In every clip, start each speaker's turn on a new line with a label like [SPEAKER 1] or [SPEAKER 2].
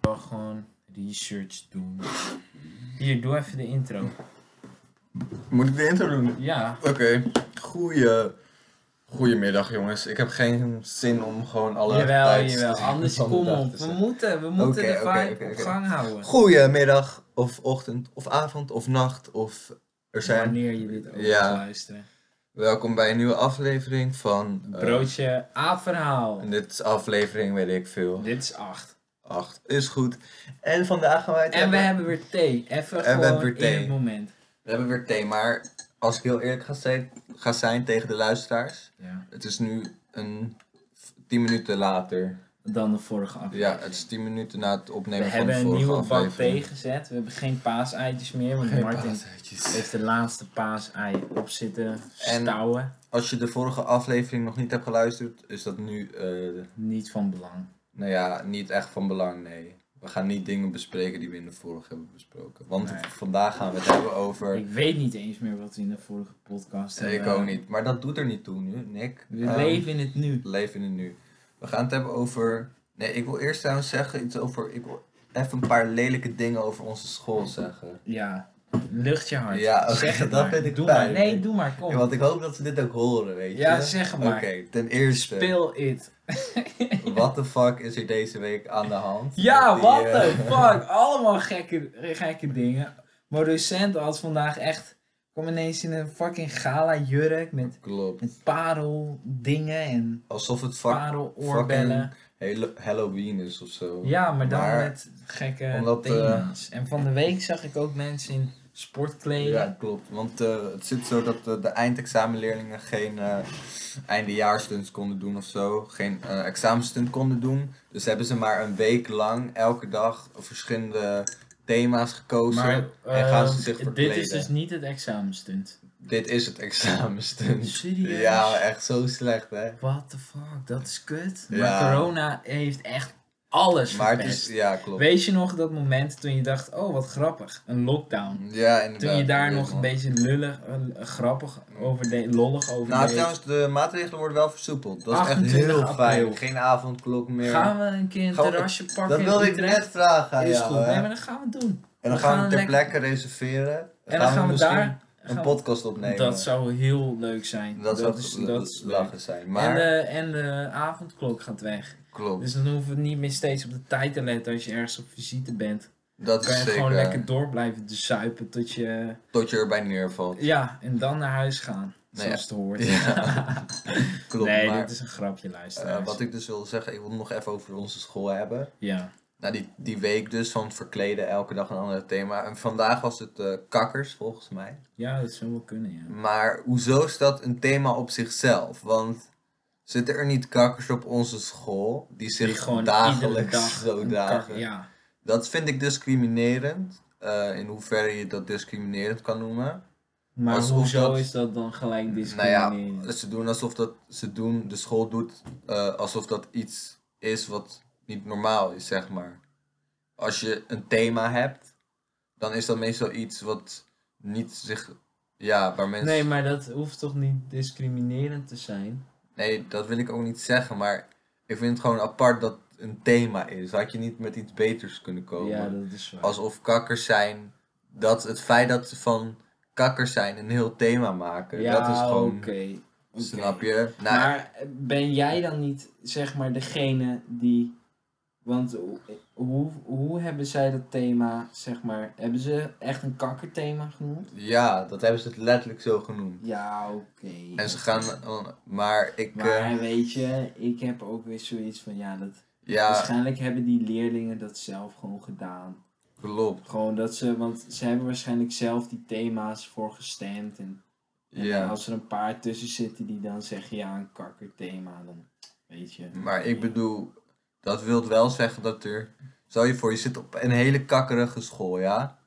[SPEAKER 1] mag gewoon research doen. Hier, doe even de intro.
[SPEAKER 2] Moet ik de intro doen?
[SPEAKER 1] Ja,
[SPEAKER 2] Oké, goeie... Goedemiddag jongens, ik heb geen zin om gewoon alle
[SPEAKER 1] jawel,
[SPEAKER 2] tijds-
[SPEAKER 1] jawel. Anders
[SPEAKER 2] van de
[SPEAKER 1] kom
[SPEAKER 2] dag
[SPEAKER 1] op.
[SPEAKER 2] te
[SPEAKER 1] We
[SPEAKER 2] zeggen.
[SPEAKER 1] moeten, we moeten
[SPEAKER 2] Oké,
[SPEAKER 1] de
[SPEAKER 2] oké,
[SPEAKER 1] vibe
[SPEAKER 2] oké,
[SPEAKER 1] op
[SPEAKER 2] oké.
[SPEAKER 1] gang houden.
[SPEAKER 2] Goedemiddag, of ochtend, of avond, of nacht, of er zijn.
[SPEAKER 1] Wanneer je dit ook
[SPEAKER 2] Ja.
[SPEAKER 1] gaat luisteren.
[SPEAKER 2] Welkom bij een nieuwe aflevering van... eh,
[SPEAKER 1] Broodje A-verhaal.
[SPEAKER 2] en dit is aflevering, weet ik veel,
[SPEAKER 1] Dit is 8.
[SPEAKER 2] 8, is goed. En vandaag gaan wij het
[SPEAKER 1] En we
[SPEAKER 2] hebben...
[SPEAKER 1] hebben weer thee. Even
[SPEAKER 2] we
[SPEAKER 1] gewoon
[SPEAKER 2] hebben weer
[SPEAKER 1] in
[SPEAKER 2] thee.
[SPEAKER 1] het moment.
[SPEAKER 2] we hebben weer thee, maar als ik heel eerlijk ga zijn, ga zijn tegen de luisteraars,
[SPEAKER 1] Ja.
[SPEAKER 2] het is nu een... 10 minuten later.
[SPEAKER 1] Dan de vorige aflevering.
[SPEAKER 2] Ja, het is 10 minuten na het
[SPEAKER 1] we
[SPEAKER 2] opnemen van de
[SPEAKER 1] hebben een
[SPEAKER 2] vorige
[SPEAKER 1] nieuwe bak
[SPEAKER 2] aflevering.
[SPEAKER 1] thee gezet. We hebben geen paaseitjes meer. Want Martin heeft de laatste paasei op zitten
[SPEAKER 2] En-
[SPEAKER 1] stouwen.
[SPEAKER 2] Als je de vorige aflevering nog niet hebt geluisterd, is dat nu, eh,
[SPEAKER 1] Niet van belang.
[SPEAKER 2] nou ja, niet echt van belang, nee. We gaan niet dingen bespreken die we in de vorige hebben besproken. Want
[SPEAKER 1] Nee.
[SPEAKER 2] vandaag gaan we het hebben over...
[SPEAKER 1] Ik weet niet eens meer wat we in de vorige podcast
[SPEAKER 2] Nee,
[SPEAKER 1] hebben.
[SPEAKER 2] ik ook niet. Maar dat doet er niet toe nu, Nick.
[SPEAKER 1] We
[SPEAKER 2] Ehm,
[SPEAKER 1] leven in het nu.
[SPEAKER 2] leven in het nu. We gaan het hebben over... Nee, ik wil eerst trouwens zeggen iets over... Ik wil even een paar lelijke dingen over onze school zeggen.
[SPEAKER 1] Ja, lucht je hart.
[SPEAKER 2] Ja, oké,
[SPEAKER 1] zeg het
[SPEAKER 2] dat
[SPEAKER 1] maar.
[SPEAKER 2] vind ik
[SPEAKER 1] doe maar.
[SPEAKER 2] fijn.
[SPEAKER 1] Nee, doe maar, kom.
[SPEAKER 2] Want ik hoop dat ze dit ook horen, weet je.
[SPEAKER 1] Oh. ja, zeg het
[SPEAKER 2] Oké, dus, eh,
[SPEAKER 1] maar.
[SPEAKER 2] ten eerste...
[SPEAKER 1] Speel it.
[SPEAKER 2] What the fuck is er deze week aan de hand? Met
[SPEAKER 1] Ja,
[SPEAKER 2] die,
[SPEAKER 1] what
[SPEAKER 2] eh,
[SPEAKER 1] the fuck. Allemaal gekke, gekke dingen. Mijn docent had vandaag echt... kwam ineens in een fucking gala jurk met,
[SPEAKER 2] Klopt.
[SPEAKER 1] met parel dingen en
[SPEAKER 2] Alsof het vak
[SPEAKER 1] parel oorbellen.
[SPEAKER 2] hele Halloween is of zo.
[SPEAKER 1] Ja, maar dan
[SPEAKER 2] Maar-
[SPEAKER 1] met gekke
[SPEAKER 2] Omdat, eh,
[SPEAKER 1] thema's. En van de week zag ik ook mensen in sportkleding.
[SPEAKER 2] Ja, klopt. Want eh, het zit zo dat eh, de eindexamenleerlingen geen eh eindejaarsstunt konden doen of zo. Geen eh examenstunt konden doen. Dus hebben ze maar een week lang elke dag verschillende thema's gekozen.
[SPEAKER 1] Maar
[SPEAKER 2] en gaan ze
[SPEAKER 1] ehm,
[SPEAKER 2] zich
[SPEAKER 1] dit
[SPEAKER 2] verkleden.
[SPEAKER 1] is dus niet het examenstunt.
[SPEAKER 2] Dit is het examenstunt.
[SPEAKER 1] Serieus?
[SPEAKER 2] Ja, echt zo slecht hè.
[SPEAKER 1] What the fuck, dat is kut. Maar
[SPEAKER 2] Ja.
[SPEAKER 1] corona heeft echt alles
[SPEAKER 2] Maar het
[SPEAKER 1] verpest.
[SPEAKER 2] is, ja klopt.
[SPEAKER 1] Weet je nog dat moment toen je dacht, oh wat grappig, een lockdown.
[SPEAKER 2] Ja, inderdaad.
[SPEAKER 1] Toen je daar
[SPEAKER 2] Ja,
[SPEAKER 1] nog een
[SPEAKER 2] man.
[SPEAKER 1] beetje lullig, eh, grappig over deed, lollig over
[SPEAKER 2] Nou,
[SPEAKER 1] deed.
[SPEAKER 2] trouwens, de maatregelen worden wel versoepeld. Dat is echt
[SPEAKER 1] 28
[SPEAKER 2] heel
[SPEAKER 1] april.
[SPEAKER 2] fijn. Geen avondklok meer.
[SPEAKER 1] Gaan we een keer een
[SPEAKER 2] Gaan we-
[SPEAKER 1] terrasje pakken
[SPEAKER 2] dat
[SPEAKER 1] in
[SPEAKER 2] wilde ik
[SPEAKER 1] Utrecht?
[SPEAKER 2] net vragen aan
[SPEAKER 1] Is
[SPEAKER 2] jou,
[SPEAKER 1] goed,
[SPEAKER 2] hè.
[SPEAKER 1] nee, maar dan gaan we het doen.
[SPEAKER 2] En
[SPEAKER 1] we
[SPEAKER 2] dan gaan we
[SPEAKER 1] gaan
[SPEAKER 2] ter
[SPEAKER 1] lekker-
[SPEAKER 2] plekke reserveren.
[SPEAKER 1] En dan gaan we,
[SPEAKER 2] misschien
[SPEAKER 1] daar gaan we-
[SPEAKER 2] een podcast opnemen.
[SPEAKER 1] Dat zou heel leuk zijn.
[SPEAKER 2] dat zou
[SPEAKER 1] is,
[SPEAKER 2] l-
[SPEAKER 1] dat is leuk.
[SPEAKER 2] lachen zijn. Maar,
[SPEAKER 1] En, eh, de, en de avondklok gaat weg.
[SPEAKER 2] klopt,
[SPEAKER 1] Dus dan hoeven we niet meer steeds op de tijd te letten als je ergens op visite bent.
[SPEAKER 2] dat
[SPEAKER 1] Dan dus kan
[SPEAKER 2] is
[SPEAKER 1] je
[SPEAKER 2] zeker. eh,
[SPEAKER 1] gewoon lekker door blijven te zuipen tot je...
[SPEAKER 2] Tot je erbij neervalt.
[SPEAKER 1] Ja, en dan naar huis gaan.
[SPEAKER 2] Nee,
[SPEAKER 1] zoals het hoort.
[SPEAKER 2] Ja. klopt,
[SPEAKER 1] nee,
[SPEAKER 2] maar
[SPEAKER 1] dat is een grapje, luisteraars.
[SPEAKER 2] eh, wat ik dus wilde zeggen, ik wil het nog even over onze school hebben.
[SPEAKER 1] Ja.
[SPEAKER 2] Nou, die, die week dus van het verkleden, elke dag een ander thema. En vandaag was het eh, kakkers, volgens mij.
[SPEAKER 1] ja, dat zou wel kunnen, ja.
[SPEAKER 2] Maar hoezo is dat een thema op zichzelf? Want zitten er niet kakkers op onze school die zich
[SPEAKER 1] Die gewoon iedere
[SPEAKER 2] dagelijks
[SPEAKER 1] dag
[SPEAKER 2] zo
[SPEAKER 1] een
[SPEAKER 2] dagen?
[SPEAKER 1] kar- Ja.
[SPEAKER 2] Dat vind ik discriminerend. eh, in hoeverre je dat discriminerend kan noemen.
[SPEAKER 1] Maar
[SPEAKER 2] Alsof
[SPEAKER 1] hoezo
[SPEAKER 2] dat-
[SPEAKER 1] is dat dan gelijk
[SPEAKER 2] Nou
[SPEAKER 1] discriminerend?
[SPEAKER 2] ja, ze doen alsof dat ze doen, de school doet eh, alsof dat iets is wat niet normaal is, zeg maar. Als je een thema hebt, dan is dat meestal iets wat niet zich. Ja, waar mensen.
[SPEAKER 1] Nee, maar dat hoeft toch niet discriminerend te zijn?
[SPEAKER 2] Nee, dat wil ik ook niet zeggen, maar ik vind het gewoon apart dat het een thema is. Had je niet met iets beters kunnen komen?
[SPEAKER 1] Ja, dat is waar.
[SPEAKER 2] Alsof kakkers zijn, dat het feit dat ze van kakkers zijn een heel thema maken,
[SPEAKER 1] ja,
[SPEAKER 2] dat is gewoon,
[SPEAKER 1] oké. oké.
[SPEAKER 2] snap je? Nou,
[SPEAKER 1] Maar ben jij dan niet, zeg maar, degene die. Want hoe- hoe, hoe hebben zij dat thema, zeg maar. Hebben ze echt een kakkerthema genoemd?
[SPEAKER 2] ja, dat hebben ze het letterlijk zo genoemd.
[SPEAKER 1] Ja, oké.
[SPEAKER 2] En ze gaan, maar ik, eh,
[SPEAKER 1] Maar weet je, ik heb ook weer zoiets van ja, dat.
[SPEAKER 2] ja,
[SPEAKER 1] Waarschijnlijk hebben die leerlingen dat zelf gewoon gedaan.
[SPEAKER 2] klopt.
[SPEAKER 1] Gewoon dat ze, want ze hebben waarschijnlijk zelf die thema's voor gestemd. En, en
[SPEAKER 2] Ja.
[SPEAKER 1] als er een paar tussen zitten die dan zeggen ja, een kakkerthema, dan weet je.
[SPEAKER 2] Maar ik bedoel, dat wil wel zeggen dat er, stel je voor, je zit op een hele kakkerige school, ja?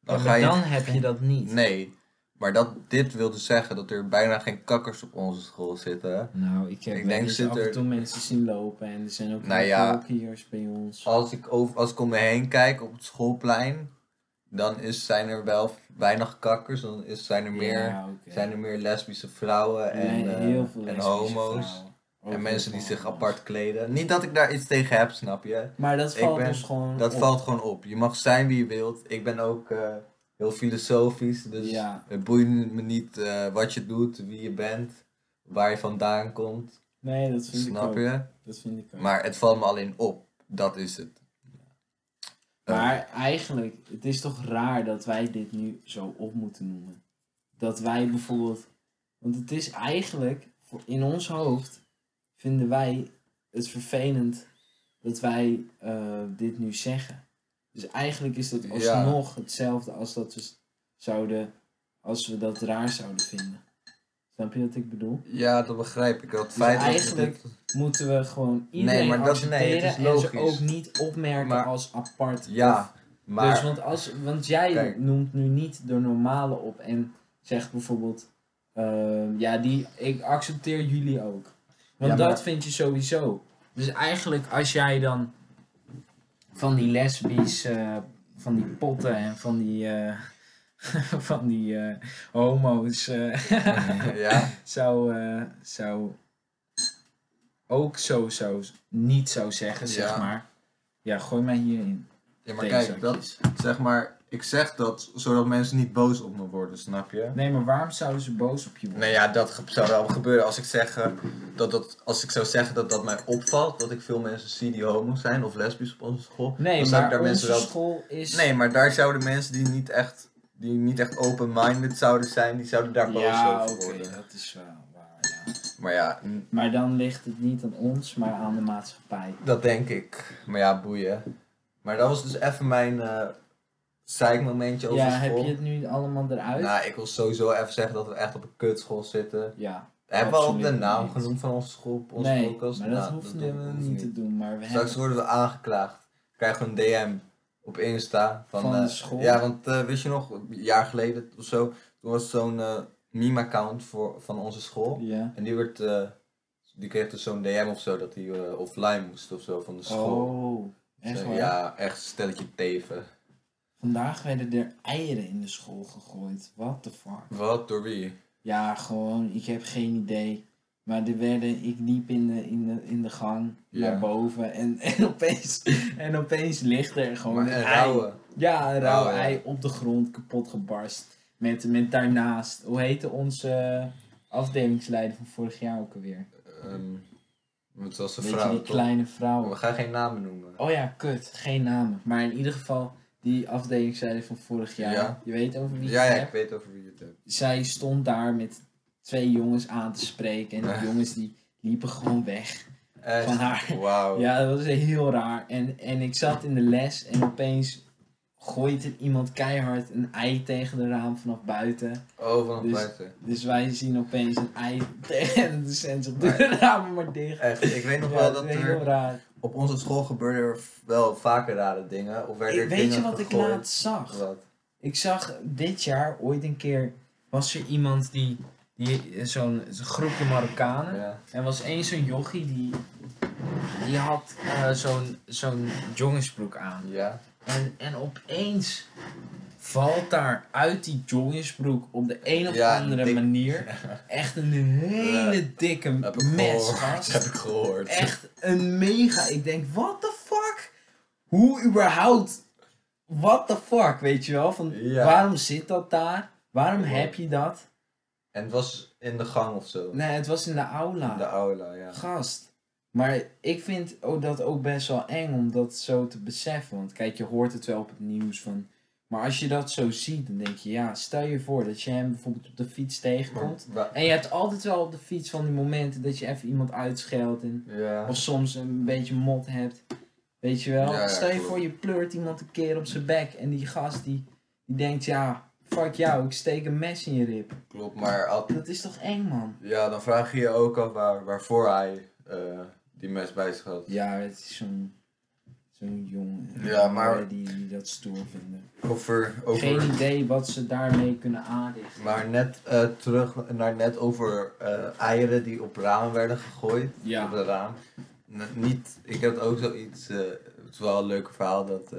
[SPEAKER 2] Dan
[SPEAKER 1] Ja,
[SPEAKER 2] ga
[SPEAKER 1] maar
[SPEAKER 2] je
[SPEAKER 1] dan heb je dat niet.
[SPEAKER 2] Nee, maar dat, dit wilde zeggen dat er bijna geen kakkers op onze school zitten.
[SPEAKER 1] Nou, ik heb
[SPEAKER 2] Ik
[SPEAKER 1] wel
[SPEAKER 2] denk
[SPEAKER 1] eens
[SPEAKER 2] zit
[SPEAKER 1] af en
[SPEAKER 2] er-
[SPEAKER 1] toe mensen zien lopen en er zijn ook
[SPEAKER 2] Nou ja.
[SPEAKER 1] walkiers bij ons.
[SPEAKER 2] Als ik, over, als ik om me heen kijk op het schoolplein, dan is, zijn er wel weinig kakkers. Dan is, zijn, er meer,
[SPEAKER 1] Ja, oké.
[SPEAKER 2] zijn er meer lesbische vrouwen en,
[SPEAKER 1] Nee,
[SPEAKER 2] eh,
[SPEAKER 1] heel veel
[SPEAKER 2] en
[SPEAKER 1] lesbische
[SPEAKER 2] homo's.
[SPEAKER 1] vrouwen.
[SPEAKER 2] En mensen die zich apart kleden. Niet dat ik daar iets tegen heb, snap je?
[SPEAKER 1] Maar dat
[SPEAKER 2] Ik
[SPEAKER 1] valt
[SPEAKER 2] ben-
[SPEAKER 1] dus gewoon.
[SPEAKER 2] Dat
[SPEAKER 1] op.
[SPEAKER 2] valt gewoon op. Je mag zijn wie je wilt. Ik ben ook eh, heel filosofisch. Dus
[SPEAKER 1] Ja.
[SPEAKER 2] het boeit me niet eh, wat je doet, wie je bent, waar je vandaan komt.
[SPEAKER 1] Nee, dat vind ik
[SPEAKER 2] Snap
[SPEAKER 1] ook.
[SPEAKER 2] je?
[SPEAKER 1] Dat vind ik ook. Maar,
[SPEAKER 2] Maar het valt me alleen op. Dat is het.
[SPEAKER 1] eigenlijk, het is toch raar dat wij dit nu zo op moeten noemen. Dat wij bijvoorbeeld. Want het is eigenlijk, voor- in ons hoofd, vinden wij het vervelend dat wij eh, dit nu zeggen. Dus eigenlijk is dat
[SPEAKER 2] Ja.
[SPEAKER 1] alsnog hetzelfde als dat we s- zouden. als we dat raar zouden vinden. Snap je wat ik bedoel?
[SPEAKER 2] Ja, dat begrijp ik. Dat
[SPEAKER 1] Dus
[SPEAKER 2] feit dat we
[SPEAKER 1] eigenlijk-
[SPEAKER 2] dit-
[SPEAKER 1] moeten we gewoon iedereen
[SPEAKER 2] maar dat-
[SPEAKER 1] accepteren
[SPEAKER 2] nee, het is
[SPEAKER 1] en ze
[SPEAKER 2] logisch.
[SPEAKER 1] ook niet opmerken
[SPEAKER 2] Maar-
[SPEAKER 1] als apart.
[SPEAKER 2] Ja, maar...
[SPEAKER 1] Dus, want, als, want jij
[SPEAKER 2] Kijk.
[SPEAKER 1] noemt nu niet de normale op en zegt bijvoorbeeld, ehm, ja, die, ik accepteer jullie ook. Want
[SPEAKER 2] Ja,
[SPEAKER 1] dat
[SPEAKER 2] maar-
[SPEAKER 1] vind je sowieso. Dus eigenlijk als jij dan van die lesbisch, eh, van die potten en van die, eh, van die eh, homo's eh,
[SPEAKER 2] ja.
[SPEAKER 1] zou, eh, zou ook zo, zo niet zou zeggen, zeg
[SPEAKER 2] Ja.
[SPEAKER 1] maar. Ja, gooi mij hierin.
[SPEAKER 2] ja, maar kijk, dat,
[SPEAKER 1] Theezakjes.
[SPEAKER 2] zeg maar, ik zeg dat zodat mensen niet boos op me worden, snap je?
[SPEAKER 1] Nee, maar waarom zouden ze boos op je worden?
[SPEAKER 2] Nou ja, dat ge- zou wel gebeuren als ik, zeg, eh, dat dat, als ik zou zeggen dat dat mij opvalt, dat ik veel mensen zie die homo zijn of lesbisch op onze school.
[SPEAKER 1] Nee,
[SPEAKER 2] dan zou ik
[SPEAKER 1] maar
[SPEAKER 2] daar
[SPEAKER 1] onze
[SPEAKER 2] mensen wel...
[SPEAKER 1] school is...
[SPEAKER 2] Nee, maar daar zouden mensen die niet echt, die niet echt open-minded zouden zijn, die zouden daar boos
[SPEAKER 1] ja,
[SPEAKER 2] over
[SPEAKER 1] oké,
[SPEAKER 2] worden.
[SPEAKER 1] dat is wel waar, ja.
[SPEAKER 2] Maar ja, n-
[SPEAKER 1] Maar dan ligt het niet aan ons, maar aan de maatschappij.
[SPEAKER 2] dat denk ik. Maar ja, boeien. Maar dat was dus even mijn eh zeikmomentje over
[SPEAKER 1] Ja, heb
[SPEAKER 2] school.
[SPEAKER 1] je het nu allemaal eruit?
[SPEAKER 2] Nou, ik wil sowieso even zeggen dat we echt op een kutschool zitten.
[SPEAKER 1] ja.
[SPEAKER 2] Hebben we al
[SPEAKER 1] Absoluut
[SPEAKER 2] de naam
[SPEAKER 1] niet.
[SPEAKER 2] genoemd van onze school op onze
[SPEAKER 1] nee,
[SPEAKER 2] podcast?
[SPEAKER 1] maar dat
[SPEAKER 2] Nou,
[SPEAKER 1] hoeft
[SPEAKER 2] doen
[SPEAKER 1] helemaal
[SPEAKER 2] we
[SPEAKER 1] niet te doen. Maar we
[SPEAKER 2] Straks
[SPEAKER 1] hebben...
[SPEAKER 2] worden we aangeklaagd. Krijgen we een DM op Insta. Van,
[SPEAKER 1] Van de
[SPEAKER 2] eh,
[SPEAKER 1] school?
[SPEAKER 2] Ja, want eh, wist je nog, een jaar geleden of zo, toen was zo'n eh, meme-account voor- van onze school.
[SPEAKER 1] Ja.
[SPEAKER 2] En die, werd, eh, die kreeg dus zo'n DM of zo, dat hij eh, offline moest of zo van de school.
[SPEAKER 1] Oh, echt
[SPEAKER 2] Zo,
[SPEAKER 1] waar?
[SPEAKER 2] ja, echt een stelletje teven.
[SPEAKER 1] Vandaag werden er eieren in de school gegooid. What the fuck?
[SPEAKER 2] Wat, door wie?
[SPEAKER 1] Ja, gewoon, ik heb geen idee. Maar er werden, ik liep in de, in de, in de gang
[SPEAKER 2] Ja.
[SPEAKER 1] naar boven en, en, opeens, en opeens ligt er gewoon
[SPEAKER 2] Maar
[SPEAKER 1] een
[SPEAKER 2] een
[SPEAKER 1] ei.
[SPEAKER 2] rauwe.
[SPEAKER 1] Ja, een rauw
[SPEAKER 2] Rauw, ja.
[SPEAKER 1] ei op de grond kapot gebarst. Met, met daarnaast, hoe heette onze eh, afdelingsleider van vorig jaar ook alweer?
[SPEAKER 2] Ehm, het was een
[SPEAKER 1] Weet je,
[SPEAKER 2] vrouw,
[SPEAKER 1] die
[SPEAKER 2] toch?
[SPEAKER 1] kleine
[SPEAKER 2] We
[SPEAKER 1] vrouw.
[SPEAKER 2] gaan geen namen noemen.
[SPEAKER 1] Oh ja, kut, geen namen. Maar in ieder geval, die afdelingsleider van vorig jaar.
[SPEAKER 2] Ja.
[SPEAKER 1] Je weet over wie
[SPEAKER 2] Ja,
[SPEAKER 1] ik
[SPEAKER 2] ja,
[SPEAKER 1] heb?
[SPEAKER 2] ik weet over wie je het hebt.
[SPEAKER 1] zij stond daar met twee jongens aan te spreken. En
[SPEAKER 2] Ja.
[SPEAKER 1] die jongens die liepen gewoon weg.
[SPEAKER 2] Echt?
[SPEAKER 1] Van haar.
[SPEAKER 2] Wauw.
[SPEAKER 1] Ja, dat was heel raar. En, en ik zat in de les en opeens gooit er iemand keihard een ei tegen de raam vanaf buiten.
[SPEAKER 2] Oh, van een
[SPEAKER 1] Dus-
[SPEAKER 2] buiten.
[SPEAKER 1] Dus wij zien opeens een ei tegen de sens op de ramen maar dicht.
[SPEAKER 2] Echt, ik weet nog
[SPEAKER 1] Ja,
[SPEAKER 2] wel
[SPEAKER 1] dat
[SPEAKER 2] dat
[SPEAKER 1] is heel
[SPEAKER 2] er
[SPEAKER 1] raar.
[SPEAKER 2] op onze school gebeurde er wel vaker rare dingen. Of werden
[SPEAKER 1] Ik,
[SPEAKER 2] er
[SPEAKER 1] weet je
[SPEAKER 2] dingen
[SPEAKER 1] wat ik
[SPEAKER 2] gegooid.
[SPEAKER 1] laatst zag?
[SPEAKER 2] Wat?
[SPEAKER 1] Ik zag dit jaar ooit een keer, was er iemand die, die zo'n zo'n groepje Marokkanen.
[SPEAKER 2] Ja.
[SPEAKER 1] Er was één zo'n jochie die, die had eh, zo'n zo'n jongensbroek aan.
[SPEAKER 2] Ja.
[SPEAKER 1] En, en opeens valt daar uit die jongensbroek op de een of
[SPEAKER 2] Ja,
[SPEAKER 1] andere
[SPEAKER 2] dik-
[SPEAKER 1] manier echt een hele dikke
[SPEAKER 2] Dat heb ik
[SPEAKER 1] mes,
[SPEAKER 2] gehoord.
[SPEAKER 1] gast.
[SPEAKER 2] Dat heb ik gehoord.
[SPEAKER 1] Echt een mega. Ik denk, what the fuck? Hoe überhaupt? What the fuck, weet je wel? Van,
[SPEAKER 2] Ja.
[SPEAKER 1] Waarom zit dat daar? Waarom
[SPEAKER 2] Ja.
[SPEAKER 1] heb je dat?
[SPEAKER 2] En het was in de gang of zo.
[SPEAKER 1] Nee, het was in de aula.
[SPEAKER 2] In de aula, ja.
[SPEAKER 1] Gast. Maar ik vind ook dat ook best wel eng om dat zo te beseffen. Want kijk, je hoort het wel op het nieuws van. Maar als je dat zo ziet, dan denk je, ja, stel je voor dat je hem bijvoorbeeld op de fiets tegenkomt.
[SPEAKER 2] Wa-
[SPEAKER 1] En je hebt altijd wel op de fiets van die momenten dat je even iemand uitscheldt. En,
[SPEAKER 2] Ja.
[SPEAKER 1] of soms een beetje mot hebt. Weet je wel?
[SPEAKER 2] Ja, ja,
[SPEAKER 1] stel je
[SPEAKER 2] klopt.
[SPEAKER 1] voor, je pleurt iemand een keer op zijn bek. En die gast die, die denkt, ja, fuck jou, ik steek een mes in je rib.
[SPEAKER 2] Klopt, maar altijd.
[SPEAKER 1] Dat is toch eng, man?
[SPEAKER 2] Ja, dan vraag je je ook af waar, waarvoor hij eh, die mes bij zich had.
[SPEAKER 1] Ja, het is zo'n zo'n jongen.
[SPEAKER 2] Ja, maar-
[SPEAKER 1] Die, die dat stoer vinden.
[SPEAKER 2] Over, over...
[SPEAKER 1] Geen idee wat ze daarmee kunnen aanrichten.
[SPEAKER 2] Maar net eh, terug naar net over eh, eieren die op ramen werden gegooid.
[SPEAKER 1] Ja.
[SPEAKER 2] Op de raam. N- niet, ik heb ook zoiets, eh, het is wel een leuk verhaal, dat eh,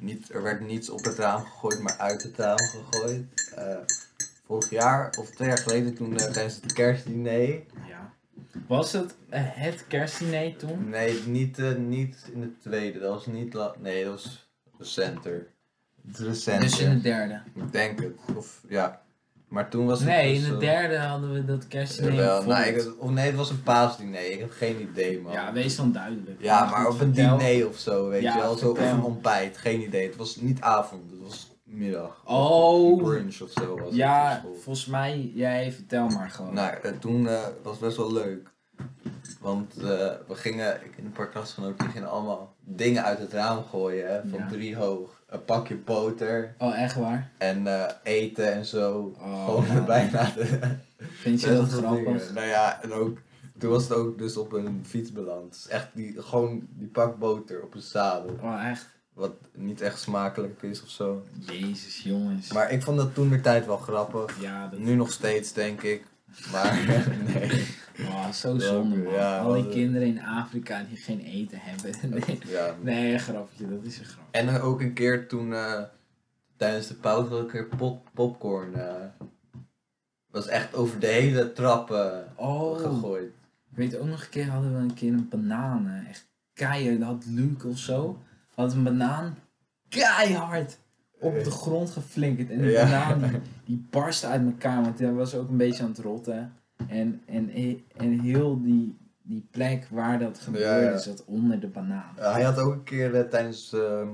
[SPEAKER 2] niet, er werd niets op het raam gegooid, maar uit het raam gegooid. Eh, vorig jaar of twee jaar geleden toen eh, tijdens het kerstdiner
[SPEAKER 1] Ja. Was het eh, het kerstdiner toen?
[SPEAKER 2] Nee, niet, eh, niet in de tweede. Dat was niet la- Nee, dat was recenter. Het is recenter.
[SPEAKER 1] Dus in de derde.
[SPEAKER 2] Ik denk het. Of ja. Maar toen was het.
[SPEAKER 1] Nee,
[SPEAKER 2] dus,
[SPEAKER 1] in de
[SPEAKER 2] eh,
[SPEAKER 1] derde hadden we dat kerstdiner.
[SPEAKER 2] Jawel,
[SPEAKER 1] voor
[SPEAKER 2] nou,
[SPEAKER 1] het-
[SPEAKER 2] ik, of nee, het was een paasdiner. Ik heb geen idee, man.
[SPEAKER 1] Ja, wees dan duidelijk.
[SPEAKER 2] Ja,
[SPEAKER 1] Goed,
[SPEAKER 2] maar op een
[SPEAKER 1] vertel.
[SPEAKER 2] diner of zo, weet
[SPEAKER 1] Ja,
[SPEAKER 2] je wel. Zo, of een
[SPEAKER 1] vertel.
[SPEAKER 2] ontbijt, geen idee. Het was niet avond, het was middag.
[SPEAKER 1] Oh.
[SPEAKER 2] Of brunch of zo was het op
[SPEAKER 1] Ja,
[SPEAKER 2] school.
[SPEAKER 1] volgens mij, jij vertel maar gewoon.
[SPEAKER 2] Nou, eh, toen eh, was het best wel leuk. Want eh, we gingen, ik en een paar klasgenoten, die gingen allemaal dingen uit het raam gooien. Hè, van
[SPEAKER 1] Ja.
[SPEAKER 2] drie hoog. Een pakje boter
[SPEAKER 1] Oh, echt waar?
[SPEAKER 2] en eh, eten en zo.
[SPEAKER 1] Oh,
[SPEAKER 2] Gewoon
[SPEAKER 1] ja.
[SPEAKER 2] bijna de,
[SPEAKER 1] Vind je
[SPEAKER 2] Best
[SPEAKER 1] dat
[SPEAKER 2] wel veel
[SPEAKER 1] grappig?
[SPEAKER 2] dingen. Nou ja, en ook, toen was het ook dus op een fiets beland. Dus echt die, gewoon die pak boter op een zadel.
[SPEAKER 1] Oh, echt?
[SPEAKER 2] Wat niet echt smakelijk is of zo.
[SPEAKER 1] Jezus, jongens.
[SPEAKER 2] Maar ik vond dat toen de tijd wel grappig.
[SPEAKER 1] Ja, dat
[SPEAKER 2] Nu nog steeds, denk ik. Maar nee.
[SPEAKER 1] oh, zo zonde, man.
[SPEAKER 2] Ja,
[SPEAKER 1] Al die
[SPEAKER 2] wat-
[SPEAKER 1] kinderen in Afrika die geen eten hebben. Nee,
[SPEAKER 2] Ja.
[SPEAKER 1] nee een grapje, dat is een grap.
[SPEAKER 2] En dan ook een keer toen, eh, tijdens de pauze, ook een keer pop- popcorn. eh, was echt over de hele trap eh,
[SPEAKER 1] Oh,
[SPEAKER 2] gegooid.
[SPEAKER 1] Ik weet ook nog een keer hadden we een keer een banaan. eh, Echt keihard. Dat had Luc of zo. Had een banaan keihard op de grond geflinkerd. En die
[SPEAKER 2] Ja.
[SPEAKER 1] banaan die, die barstte uit elkaar. Want hij was ook een beetje aan het rotten. En, en, en heel die, die plek waar dat gebeurde
[SPEAKER 2] Ja, ja.
[SPEAKER 1] zat onder de banaan.
[SPEAKER 2] Eh, hij had ook een keer eh, tijdens, ehm,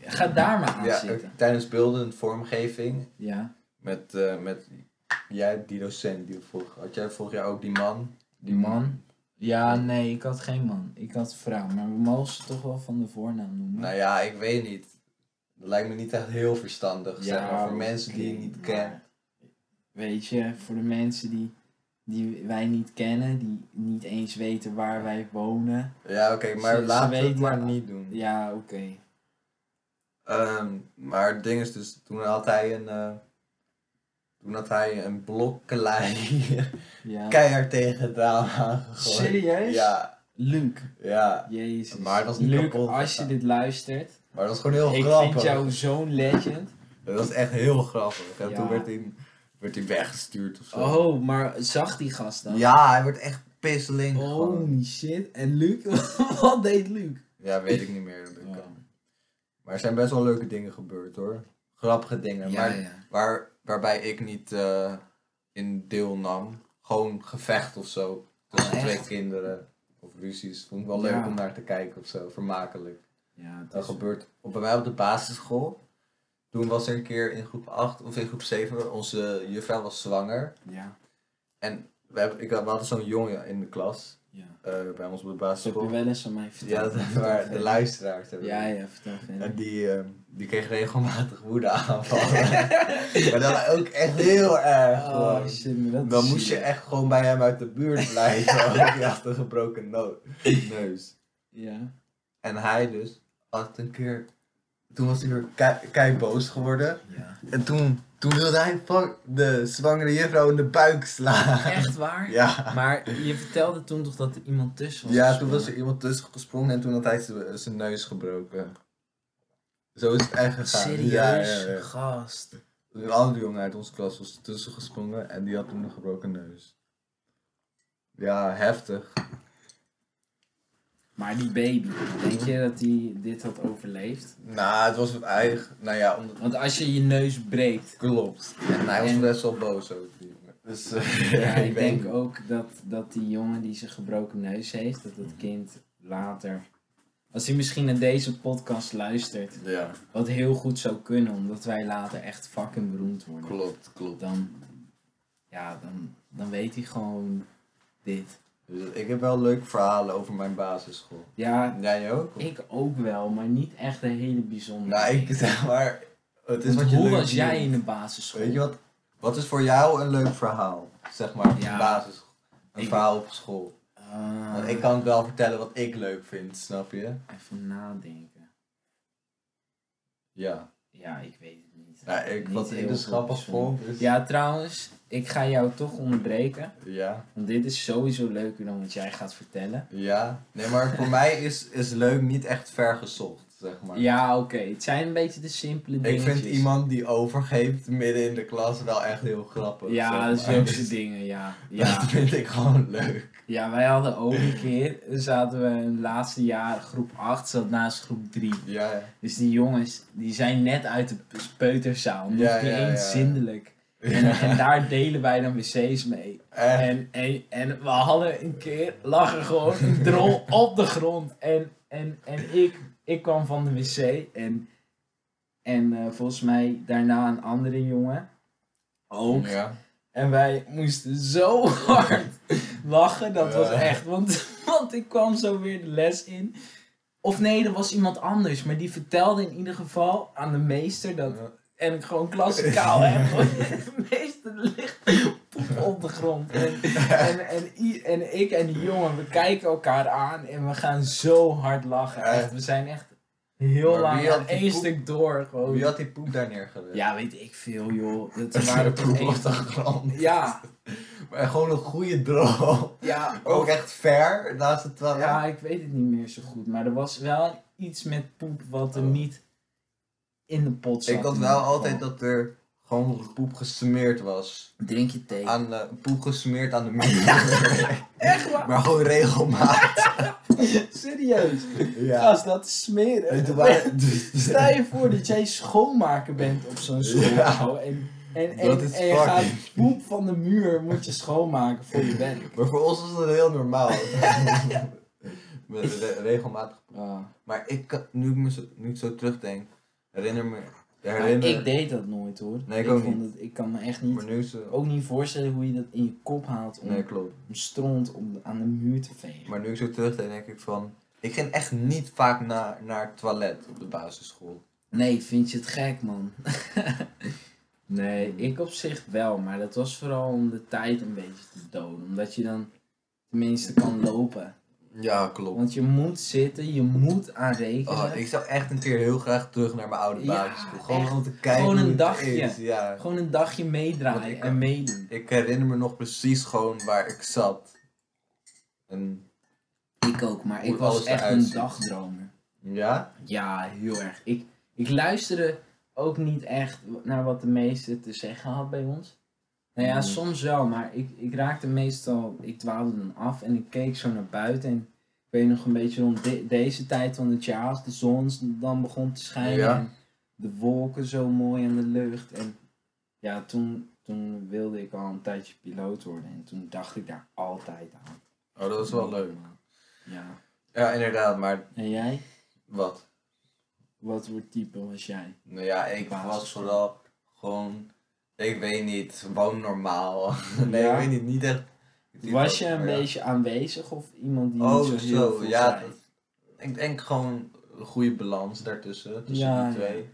[SPEAKER 1] Ga daar maar aan
[SPEAKER 2] ja,
[SPEAKER 1] zitten.
[SPEAKER 2] eh, tijdens beelden en vormgeving
[SPEAKER 1] Ja.
[SPEAKER 2] Met, eh, met jij, die docent, die vorig, had jij vorig jaar ook die man?
[SPEAKER 1] Die man. Ja, nee, ik had geen man. Ik had vrouw. Maar we mogen ze toch wel van de voornaam noemen.
[SPEAKER 2] Nou ja, ik weet niet. Dat lijkt me niet echt heel verstandig, zeg maar, voor
[SPEAKER 1] oké,
[SPEAKER 2] mensen die je niet
[SPEAKER 1] maar
[SPEAKER 2] kennen.
[SPEAKER 1] Weet je, voor de mensen die, die wij niet kennen, die niet eens weten waar wij wonen.
[SPEAKER 2] Ja, oké, maar
[SPEAKER 1] Ze- ze
[SPEAKER 2] laten we het
[SPEAKER 1] weten-
[SPEAKER 2] maar niet doen.
[SPEAKER 1] Ja, oké.
[SPEAKER 2] Ehm, maar het ding is dus, toen had hij een, eh, toen had hij een blokkelei
[SPEAKER 1] Ja.
[SPEAKER 2] keihard tegen het raam aangegooid.
[SPEAKER 1] Serieus?
[SPEAKER 2] Ja,
[SPEAKER 1] Luc,
[SPEAKER 2] ja.
[SPEAKER 1] jezus.
[SPEAKER 2] Maar dat is niet
[SPEAKER 1] Luc,
[SPEAKER 2] kapot
[SPEAKER 1] als je
[SPEAKER 2] gegaan.
[SPEAKER 1] dit luistert,
[SPEAKER 2] Maar dat was gewoon heel
[SPEAKER 1] ik
[SPEAKER 2] grappig.
[SPEAKER 1] vind jou zo'n legend.
[SPEAKER 2] Dat was echt heel grappig. En
[SPEAKER 1] Ja.
[SPEAKER 2] toen werd hij, werd hij weggestuurd of zo.
[SPEAKER 1] Oh, maar zag die gast dan? Oh.
[SPEAKER 2] Ja, hij wordt echt pisseling. gewoon.
[SPEAKER 1] Holy shit. En Luc, wat deed Luc?
[SPEAKER 2] Ja, weet ik niet meer. dat ik
[SPEAKER 1] Ja.
[SPEAKER 2] kan. Maar er zijn best wel leuke dingen gebeurd hoor. Grappige dingen.
[SPEAKER 1] Ja,
[SPEAKER 2] maar,
[SPEAKER 1] ja.
[SPEAKER 2] Waar, waarbij ik niet eh, in deelnam. Gewoon gevecht of zo. Tussen
[SPEAKER 1] Oh, echt?
[SPEAKER 2] twee kinderen. Of ruzies. Vond ik wel leuk
[SPEAKER 1] Ja.
[SPEAKER 2] om naar te kijken of zo. Vermakelijk.
[SPEAKER 1] Ja, het
[SPEAKER 2] Dat
[SPEAKER 1] is...
[SPEAKER 2] gebeurt op, bij mij op de basisschool. Toen was er een keer in groep 8 of in groep 7. Onze juffrouw was zwanger.
[SPEAKER 1] Ja,
[SPEAKER 2] En we, hebben, ik, had- we hadden zo'n jongen in de klas.
[SPEAKER 1] ja.
[SPEAKER 2] eh, bij ons op de
[SPEAKER 1] Dat heb
[SPEAKER 2] basisschool.
[SPEAKER 1] je wel eens aan mij verteld.
[SPEAKER 2] Ja, dat hebben waar de luisteraars hebben.
[SPEAKER 1] Ja, ja, vertel verder.
[SPEAKER 2] En die, ehm, die kreeg regelmatig woedeaanvallen. maar dat was ook echt heel erg.
[SPEAKER 1] Oh
[SPEAKER 2] gewoon.
[SPEAKER 1] shit, maar dat
[SPEAKER 2] Dan
[SPEAKER 1] is
[SPEAKER 2] moest je
[SPEAKER 1] zielig.
[SPEAKER 2] echt gewoon bij hem uit de buurt blijven. want hij had een gebroken no- neus.
[SPEAKER 1] Ja.
[SPEAKER 2] En hij dus had een keer... Toen was hij weer kei, kei boos geworden.
[SPEAKER 1] ja.
[SPEAKER 2] En toen, toen wilde hij fuck de zwangere juffrouw in de buik slaan.
[SPEAKER 1] Echt waar?
[SPEAKER 2] Ja.
[SPEAKER 1] Maar je vertelde toen toch dat er iemand tussen was?
[SPEAKER 2] Ja, toen was er
[SPEAKER 1] ik.
[SPEAKER 2] iemand tussen gesprongen en toen had hij z- zijn neus gebroken. Zo is het echt gegaan.
[SPEAKER 1] Serieus,
[SPEAKER 2] Ja, ja, ja.
[SPEAKER 1] gast.
[SPEAKER 2] Een andere jongen uit onze klas was ertussen gesprongen en die had toen een gebroken neus. Ja, heftig.
[SPEAKER 1] Maar die baby, denk je dat die dit had overleefd?
[SPEAKER 2] Nou, het was het eigen. Nou ja, omdat...
[SPEAKER 1] Want als je je neus breekt.
[SPEAKER 2] Klopt. En hij was
[SPEAKER 1] En-
[SPEAKER 2] best wel boos ook, die jongen. Dus eh,
[SPEAKER 1] Ja, ik
[SPEAKER 2] weet
[SPEAKER 1] denk
[SPEAKER 2] niet.
[SPEAKER 1] ook dat, dat die jongen die zijn gebroken neus heeft, dat
[SPEAKER 2] Mhm.
[SPEAKER 1] dat kind later. Als hij misschien naar deze podcast luistert,
[SPEAKER 2] Ja,
[SPEAKER 1] wat heel goed zou kunnen, omdat wij later echt fucking beroemd worden.
[SPEAKER 2] klopt, klopt.
[SPEAKER 1] Dan, ja, dan, dan weet hij gewoon dit.
[SPEAKER 2] Dus ik heb wel leuke verhalen over mijn basisschool.
[SPEAKER 1] Ja,
[SPEAKER 2] Jij ook? of-
[SPEAKER 1] Ik ook wel, maar niet echt een hele bijzondere.
[SPEAKER 2] Nou, ik
[SPEAKER 1] Want
[SPEAKER 2] zeg maar... Het is wat je
[SPEAKER 1] hoe
[SPEAKER 2] leuk
[SPEAKER 1] was jij
[SPEAKER 2] doet.
[SPEAKER 1] in de basisschool?
[SPEAKER 2] Weet je wat? Wat is voor jou een leuk verhaal? Zeg maar,
[SPEAKER 1] Ja.
[SPEAKER 2] basis. Een
[SPEAKER 1] Ik-
[SPEAKER 2] verhaal op school.
[SPEAKER 1] Ah,
[SPEAKER 2] Want ik kan wel vertellen wat ik leuk vind, snap je?
[SPEAKER 1] Even nadenken.
[SPEAKER 2] Ja.
[SPEAKER 1] Ja, ik weet het niet.
[SPEAKER 2] ja ik,
[SPEAKER 1] Niet
[SPEAKER 2] wat
[SPEAKER 1] heel
[SPEAKER 2] ik dus
[SPEAKER 1] veel
[SPEAKER 2] grappig
[SPEAKER 1] bijzonder.
[SPEAKER 2] vond. is-
[SPEAKER 1] Ja, trouwens, ik ga jou toch onderbreken.
[SPEAKER 2] ja.
[SPEAKER 1] Want dit is sowieso leuker dan wat jij gaat vertellen.
[SPEAKER 2] Ja. Nee, maar voor mij is, is leuk niet echt vergezocht. zeg maar.
[SPEAKER 1] Ja, oké. Het zijn een beetje de simpele
[SPEAKER 2] Ik
[SPEAKER 1] dingetjes.
[SPEAKER 2] vind iemand die overgeeft midden in de klas wel echt heel grappig.
[SPEAKER 1] Ja,
[SPEAKER 2] zeg maar.
[SPEAKER 1] zulke dingen, ja.
[SPEAKER 2] Dat
[SPEAKER 1] ja.
[SPEAKER 2] vind ik gewoon leuk.
[SPEAKER 1] Ja, wij hadden ook een keer, zaten we in het laatste jaar, groep 8 zat naast groep 3.
[SPEAKER 2] Ja, ja.
[SPEAKER 1] Dus die jongens, die zijn net uit de peuterzaal, nog
[SPEAKER 2] Ja,
[SPEAKER 1] niet
[SPEAKER 2] ja, ja,
[SPEAKER 1] eens
[SPEAKER 2] ja.
[SPEAKER 1] zindelijk. En, en daar delen wij dan wc's mee.
[SPEAKER 2] Echt.
[SPEAKER 1] En, en, en we hadden een keer, lag er gewoon een drol op de grond. En, en, en ik, ik kwam van de wc en, en eh, volgens mij daarna een andere jongen. Ook.
[SPEAKER 2] Ja.
[SPEAKER 1] En wij moesten zo hard lachen. Dat was
[SPEAKER 2] Ja.
[SPEAKER 1] echt. Want, want ik kwam zo weer de les in. Of nee, er was iemand anders. Maar die vertelde in ieder geval aan de meester dat. En ik gewoon klassikaal heb. hoor. De meester ligt poep op de grond. En, en, en, i- en ik en die jongen, we kijken elkaar aan. En we gaan zo hard lachen. Echt, we zijn echt heel
[SPEAKER 2] Maar
[SPEAKER 1] lang
[SPEAKER 2] wie had
[SPEAKER 1] aan
[SPEAKER 2] die
[SPEAKER 1] één
[SPEAKER 2] poep-
[SPEAKER 1] stuk door. Gewoon.
[SPEAKER 2] Wie had die poep daar neergelegd?
[SPEAKER 1] Ja, weet ik veel joh.
[SPEAKER 2] Dat
[SPEAKER 1] Dat
[SPEAKER 2] is
[SPEAKER 1] waren
[SPEAKER 2] een
[SPEAKER 1] toch
[SPEAKER 2] poep op de
[SPEAKER 1] echt...
[SPEAKER 2] grond.
[SPEAKER 1] Ja,
[SPEAKER 2] Maar gewoon een goede droom.
[SPEAKER 1] ja.
[SPEAKER 2] Ook echt ver naast het toilet.
[SPEAKER 1] Ja, ik weet het niet meer zo goed. Maar er was wel iets met poep wat er
[SPEAKER 2] Oh.
[SPEAKER 1] niet in de pot zat.
[SPEAKER 2] ik had
[SPEAKER 1] in
[SPEAKER 2] wel
[SPEAKER 1] ieder
[SPEAKER 2] altijd
[SPEAKER 1] geval.
[SPEAKER 2] dat er gewoon poep gesmeerd was.
[SPEAKER 1] Drink je thee.
[SPEAKER 2] Aan de, poep gesmeerd aan de muur.
[SPEAKER 1] Echt waar?
[SPEAKER 2] maar gewoon regelmatig.
[SPEAKER 1] Serieus?
[SPEAKER 2] Ja.
[SPEAKER 1] Als dat is
[SPEAKER 2] En
[SPEAKER 1] smeren.
[SPEAKER 2] toen waren-
[SPEAKER 1] Stel je voor dat jij schoonmaker bent op zo'n school.
[SPEAKER 2] Ja.
[SPEAKER 1] nou, En, en, en,
[SPEAKER 2] Dat is
[SPEAKER 1] en je
[SPEAKER 2] fucking-
[SPEAKER 1] gaat poep van de muur moet je schoonmaken voor je werk.
[SPEAKER 2] Maar voor ons was dat heel normaal. Met re- regelmatig.
[SPEAKER 1] Ah.
[SPEAKER 2] Maar ik, kan- nu, ik me zo, nu ik zo terugdenk, herinner me.
[SPEAKER 1] Maar
[SPEAKER 2] Herinner,
[SPEAKER 1] ik deed dat nooit hoor.
[SPEAKER 2] Nee, ik ook
[SPEAKER 1] vond
[SPEAKER 2] niet.
[SPEAKER 1] het- ik kan me echt niet,
[SPEAKER 2] Maar nu zo.
[SPEAKER 1] ook niet voorstellen hoe je dat in je kop haalt om,
[SPEAKER 2] Nee, klopt.
[SPEAKER 1] om stront om de- aan de muur te vegen.
[SPEAKER 2] Maar nu ik zo terugdenk, denk ik van. Ik ging echt niet vaak naar, naar het toilet op de basisschool.
[SPEAKER 1] Nee, vind je het gek, man? nee, ik op zich wel, maar dat was vooral om de tijd een beetje te doden. Omdat je dan tenminste kan lopen.
[SPEAKER 2] Ja, klopt.
[SPEAKER 1] Want je moet zitten, je moet aan rekenen.
[SPEAKER 2] Oh, ik zou echt een keer heel graag terug naar mijn oude
[SPEAKER 1] Ja,
[SPEAKER 2] basisschool. Gewoon
[SPEAKER 1] echt.
[SPEAKER 2] om te kijken
[SPEAKER 1] Gewoon
[SPEAKER 2] hoe
[SPEAKER 1] een
[SPEAKER 2] het
[SPEAKER 1] dagje.
[SPEAKER 2] is, Ja.
[SPEAKER 1] Gewoon een dagje meedraaien
[SPEAKER 2] Want ik-
[SPEAKER 1] en meedoen.
[SPEAKER 2] Ik herinner me nog precies gewoon waar ik zat. En,
[SPEAKER 1] Ik ook, maar
[SPEAKER 2] Hoe
[SPEAKER 1] ik was
[SPEAKER 2] alles
[SPEAKER 1] echt
[SPEAKER 2] eruit
[SPEAKER 1] een
[SPEAKER 2] ziet.
[SPEAKER 1] dagdromer.
[SPEAKER 2] ja?
[SPEAKER 1] Ja, heel erg. Ik, ik luisterde ook niet echt naar wat de meester te zeggen had bij ons. Nou ja,
[SPEAKER 2] Mm.
[SPEAKER 1] soms wel, maar ik, ik raakte meestal, ik dwaalde dan af en ik keek zo naar buiten. En ik weet nog een beetje rond de- deze tijd van het jaar, als de zon s- dan begon te schijnen.
[SPEAKER 2] Ja.
[SPEAKER 1] En de wolken zo mooi in de lucht. En ja, toen, toen wilde ik al een tijdje piloot worden. En toen dacht ik daar altijd aan.
[SPEAKER 2] Oh, dat was wel leuk.
[SPEAKER 1] Ja.
[SPEAKER 2] Ja, inderdaad, maar
[SPEAKER 1] En jij?
[SPEAKER 2] wat?
[SPEAKER 1] Wat voor type was jij?
[SPEAKER 2] Nou ja, ik was
[SPEAKER 1] basisschool.
[SPEAKER 2] vooral gewoon, ik weet niet, gewoon normaal. nee,
[SPEAKER 1] Ja.
[SPEAKER 2] ik weet niet, niet echt.
[SPEAKER 1] Was je een
[SPEAKER 2] maar oh ja.
[SPEAKER 1] beetje aanwezig of iemand die niet
[SPEAKER 2] Oh,
[SPEAKER 1] zo heel
[SPEAKER 2] zo,
[SPEAKER 1] veel
[SPEAKER 2] ja.
[SPEAKER 1] zei?
[SPEAKER 2] dat- ik denk gewoon een goede balans daartussen, tussen
[SPEAKER 1] Ja,
[SPEAKER 2] die
[SPEAKER 1] ja.
[SPEAKER 2] twee.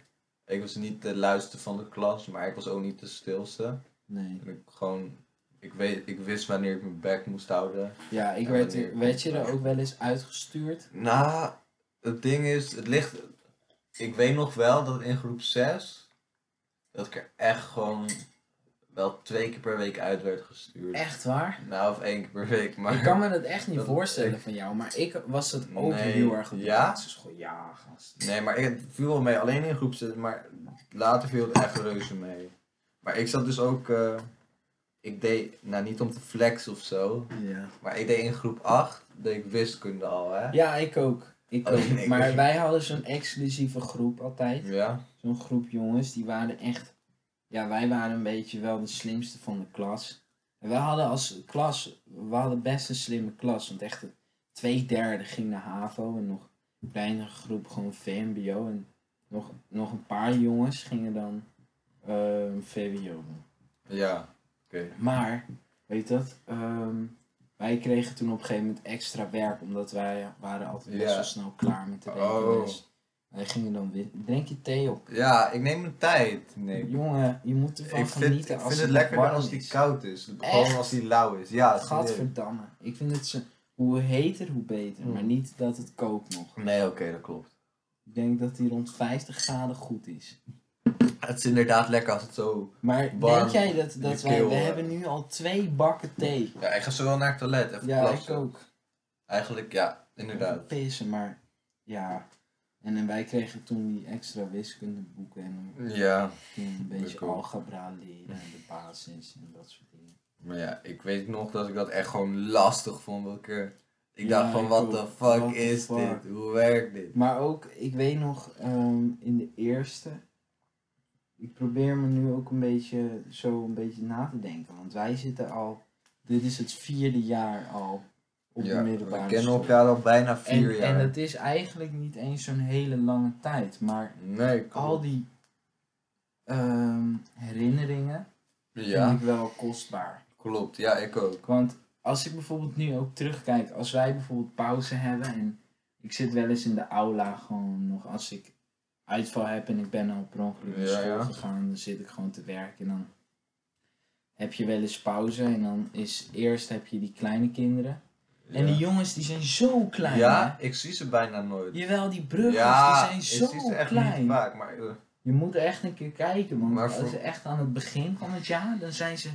[SPEAKER 2] Ik was niet de luister van de klas, maar ik was ook niet de stilste.
[SPEAKER 1] Nee.
[SPEAKER 2] En ik gewoon, ik, weet, ik wist wanneer ik mijn bek moest houden.
[SPEAKER 1] Ja, ik
[SPEAKER 2] Ja,
[SPEAKER 1] werd,
[SPEAKER 2] wanneer
[SPEAKER 1] werd
[SPEAKER 2] komt
[SPEAKER 1] je
[SPEAKER 2] het?
[SPEAKER 1] er ook wel eens uitgestuurd?
[SPEAKER 2] Nou, het ding is, het ligt. Ik weet nog wel dat in groep 6 dat ik er echt gewoon wel twee keer per week uit werd gestuurd.
[SPEAKER 1] Echt waar?
[SPEAKER 2] Nou, of één keer per week, maar.
[SPEAKER 1] Ik kan me dat echt niet
[SPEAKER 2] Dat-
[SPEAKER 1] voorstellen van jou, maar ik was dat ook
[SPEAKER 2] Nee,
[SPEAKER 1] heel erg op de
[SPEAKER 2] ja?
[SPEAKER 1] basisschool. Ja, gast.
[SPEAKER 2] Nee, maar ik het viel wel mee, alleen in groep 6, maar later viel het echt reuze mee. Maar ik zat dus ook. eh, ik deed, nou niet om te flexen of zo,
[SPEAKER 1] Ja.
[SPEAKER 2] maar ik deed in groep 8, deed ik wiskunde al, hè?
[SPEAKER 1] Ja, ik ook. Ik
[SPEAKER 2] Oh,
[SPEAKER 1] ook.
[SPEAKER 2] nee, ik
[SPEAKER 1] maar
[SPEAKER 2] ook.
[SPEAKER 1] wij hadden zo'n exclusieve groep altijd.
[SPEAKER 2] Ja?
[SPEAKER 1] Zo'n groep jongens, die waren echt... Ja, wij waren een beetje wel de slimste van de klas. En wij hadden als klas, we hadden best een slimme klas. Want echt het twee derde ging naar HAVO en nog een kleinere groep gewoon VMBO. En nog, nog een paar jongens gingen dan ehm, VWO doen.
[SPEAKER 2] Ja, oké.
[SPEAKER 1] Maar, weet je dat? ehm, wij kregen toen op een gegeven moment extra werk, omdat wij waren altijd best
[SPEAKER 2] Ja.
[SPEAKER 1] wel snel klaar met de
[SPEAKER 2] Oh.
[SPEAKER 1] rekenles. Wij gingen dan weer. Drink je thee op.
[SPEAKER 2] Ja, ik neem mijn tijd. Nee.
[SPEAKER 1] Jongen, je moet ervan
[SPEAKER 2] Ik
[SPEAKER 1] genieten
[SPEAKER 2] vind, ik
[SPEAKER 1] als
[SPEAKER 2] vind het
[SPEAKER 1] nog
[SPEAKER 2] lekkerder
[SPEAKER 1] warm
[SPEAKER 2] als die
[SPEAKER 1] is.
[SPEAKER 2] koud is. Gewoon
[SPEAKER 1] Echt?
[SPEAKER 2] als die lauw is. Ja, serieus.
[SPEAKER 1] Gadverdamme. Ik vind het ze, hoe heter, hoe beter. Maar
[SPEAKER 2] Hmm.
[SPEAKER 1] niet dat het kookt nog.
[SPEAKER 2] Nee, oké, dat klopt.
[SPEAKER 1] Ik denk dat die rond 50 graden goed is.
[SPEAKER 2] Het is inderdaad lekker als het zo...
[SPEAKER 1] Maar
[SPEAKER 2] Warm
[SPEAKER 1] denk jij dat, dat
[SPEAKER 2] je
[SPEAKER 1] wij...
[SPEAKER 2] keel,
[SPEAKER 1] We
[SPEAKER 2] eh.
[SPEAKER 1] hebben nu al twee bakken thee.
[SPEAKER 2] Ja, ik ga zo wel naar het toilet. Even
[SPEAKER 1] Ja, ik
[SPEAKER 2] plassen.
[SPEAKER 1] ook.
[SPEAKER 2] Eigenlijk, ja, inderdaad.
[SPEAKER 1] Even Pissen, maar... Ja, En, en wij kregen toen die extra wiskundeboeken en dan
[SPEAKER 2] Ja,
[SPEAKER 1] ging een beetje
[SPEAKER 2] cool.
[SPEAKER 1] algebra leren en de basis en dat soort dingen.
[SPEAKER 2] maar ja, ik weet nog dat ik dat echt gewoon lastig vond. Dat ik er-
[SPEAKER 1] Ja,
[SPEAKER 2] ik dacht van,
[SPEAKER 1] ik
[SPEAKER 2] wat
[SPEAKER 1] ook.
[SPEAKER 2] de fuck
[SPEAKER 1] What the
[SPEAKER 2] is
[SPEAKER 1] fuck?
[SPEAKER 2] dit? Hoe werkt dit?
[SPEAKER 1] Maar ook, ik weet nog, ehm, in de eerste. Ik probeer me nu ook een beetje zo een beetje na te denken. Want wij zitten al. Dit is het vierde jaar al op de middelbare
[SPEAKER 2] we kennen
[SPEAKER 1] school.
[SPEAKER 2] elkaar al bijna vier
[SPEAKER 1] en,
[SPEAKER 2] jaar.
[SPEAKER 1] en het is eigenlijk niet eens zo'n hele lange tijd. Maar
[SPEAKER 2] Nee, klopt.
[SPEAKER 1] al die ehm, herinneringen
[SPEAKER 2] Ja,
[SPEAKER 1] vind ik wel kostbaar.
[SPEAKER 2] klopt. Ja, ik ook.
[SPEAKER 1] Want als ik bijvoorbeeld nu ook terugkijk, als wij bijvoorbeeld pauze hebben en ik zit wel eens in de aula gewoon nog als ik uitval heb en ik ben al per ongeluk naar
[SPEAKER 2] Ja,
[SPEAKER 1] school
[SPEAKER 2] ja.
[SPEAKER 1] gegaan, dan zit ik gewoon te werken en dan heb je wel eens pauze en dan is eerst heb je die kleine kinderen. En die jongens die zijn zo klein.
[SPEAKER 2] Ja,
[SPEAKER 1] hè?
[SPEAKER 2] ik zie ze bijna nooit.
[SPEAKER 1] Jawel, die bruggers
[SPEAKER 2] ja,
[SPEAKER 1] die
[SPEAKER 2] ik
[SPEAKER 1] zijn
[SPEAKER 2] zie
[SPEAKER 1] zo
[SPEAKER 2] ze echt
[SPEAKER 1] klein.
[SPEAKER 2] niet vaak, maar... eh,
[SPEAKER 1] Je moet er echt een keer kijken, want
[SPEAKER 2] Maar
[SPEAKER 1] als
[SPEAKER 2] voor-
[SPEAKER 1] ze echt aan het begin van het jaar, dan zijn ze.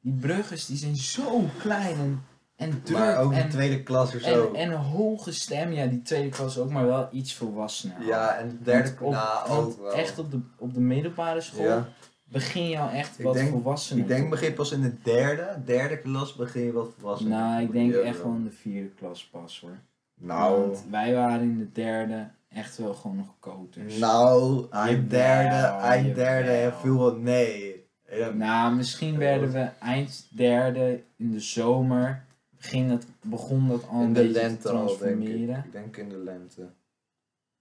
[SPEAKER 1] Die bruggers die zijn zo klein en, en druk.
[SPEAKER 2] maar ook
[SPEAKER 1] en,
[SPEAKER 2] in tweede klas of zo.
[SPEAKER 1] en, en een hoge stem, ja, die tweede klas ook, maar wel iets volwassener.
[SPEAKER 2] ja, en de
[SPEAKER 1] Want
[SPEAKER 2] derde
[SPEAKER 1] op-
[SPEAKER 2] na
[SPEAKER 1] want
[SPEAKER 2] ook wel.
[SPEAKER 1] Echt op de, op de middelbare school
[SPEAKER 2] Ja.
[SPEAKER 1] begin je al echt
[SPEAKER 2] Ik
[SPEAKER 1] wat
[SPEAKER 2] denk-
[SPEAKER 1] volwassener.
[SPEAKER 2] Ik denk begin pas in de derde, derde klas begin je wat volwassen.
[SPEAKER 1] Nou, ik denk
[SPEAKER 2] Ja,
[SPEAKER 1] echt
[SPEAKER 2] ja.
[SPEAKER 1] wel in de vierde klas pas hoor.
[SPEAKER 2] Nou,
[SPEAKER 1] Want wij waren in de derde echt wel gewoon nog koters.
[SPEAKER 2] nou,
[SPEAKER 1] Jawel,
[SPEAKER 2] eind derde, eind derde,
[SPEAKER 1] jawel.
[SPEAKER 2] heel veel wel nee. Ja,
[SPEAKER 1] Nou, misschien werden we eind derde in de zomer. Ging dat, begon dat al een
[SPEAKER 2] in de
[SPEAKER 1] beetje te
[SPEAKER 2] lente al, denk ik.
[SPEAKER 1] transformeren.
[SPEAKER 2] Ik denk in de lente.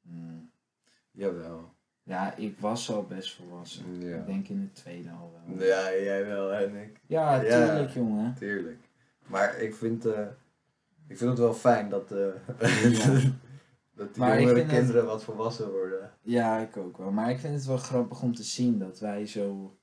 [SPEAKER 1] Hmm.
[SPEAKER 2] Jawel.
[SPEAKER 1] Ja, ik was al best volwassen.
[SPEAKER 2] Ja.
[SPEAKER 1] Ik denk in de tweede al wel.
[SPEAKER 2] Ja, jij wel en ik.
[SPEAKER 1] Ja,
[SPEAKER 2] Ja.
[SPEAKER 1] tuurlijk jongen.
[SPEAKER 2] Tuurlijk. Maar ik vind, eh, ik vind het wel fijn dat, eh,
[SPEAKER 1] Ja.
[SPEAKER 2] dat die
[SPEAKER 1] Maar ik
[SPEAKER 2] jongere
[SPEAKER 1] vind het-
[SPEAKER 2] kinderen wat volwassen worden.
[SPEAKER 1] Ja, ik ook wel. Maar ik vind het wel grappig om te zien dat wij zo...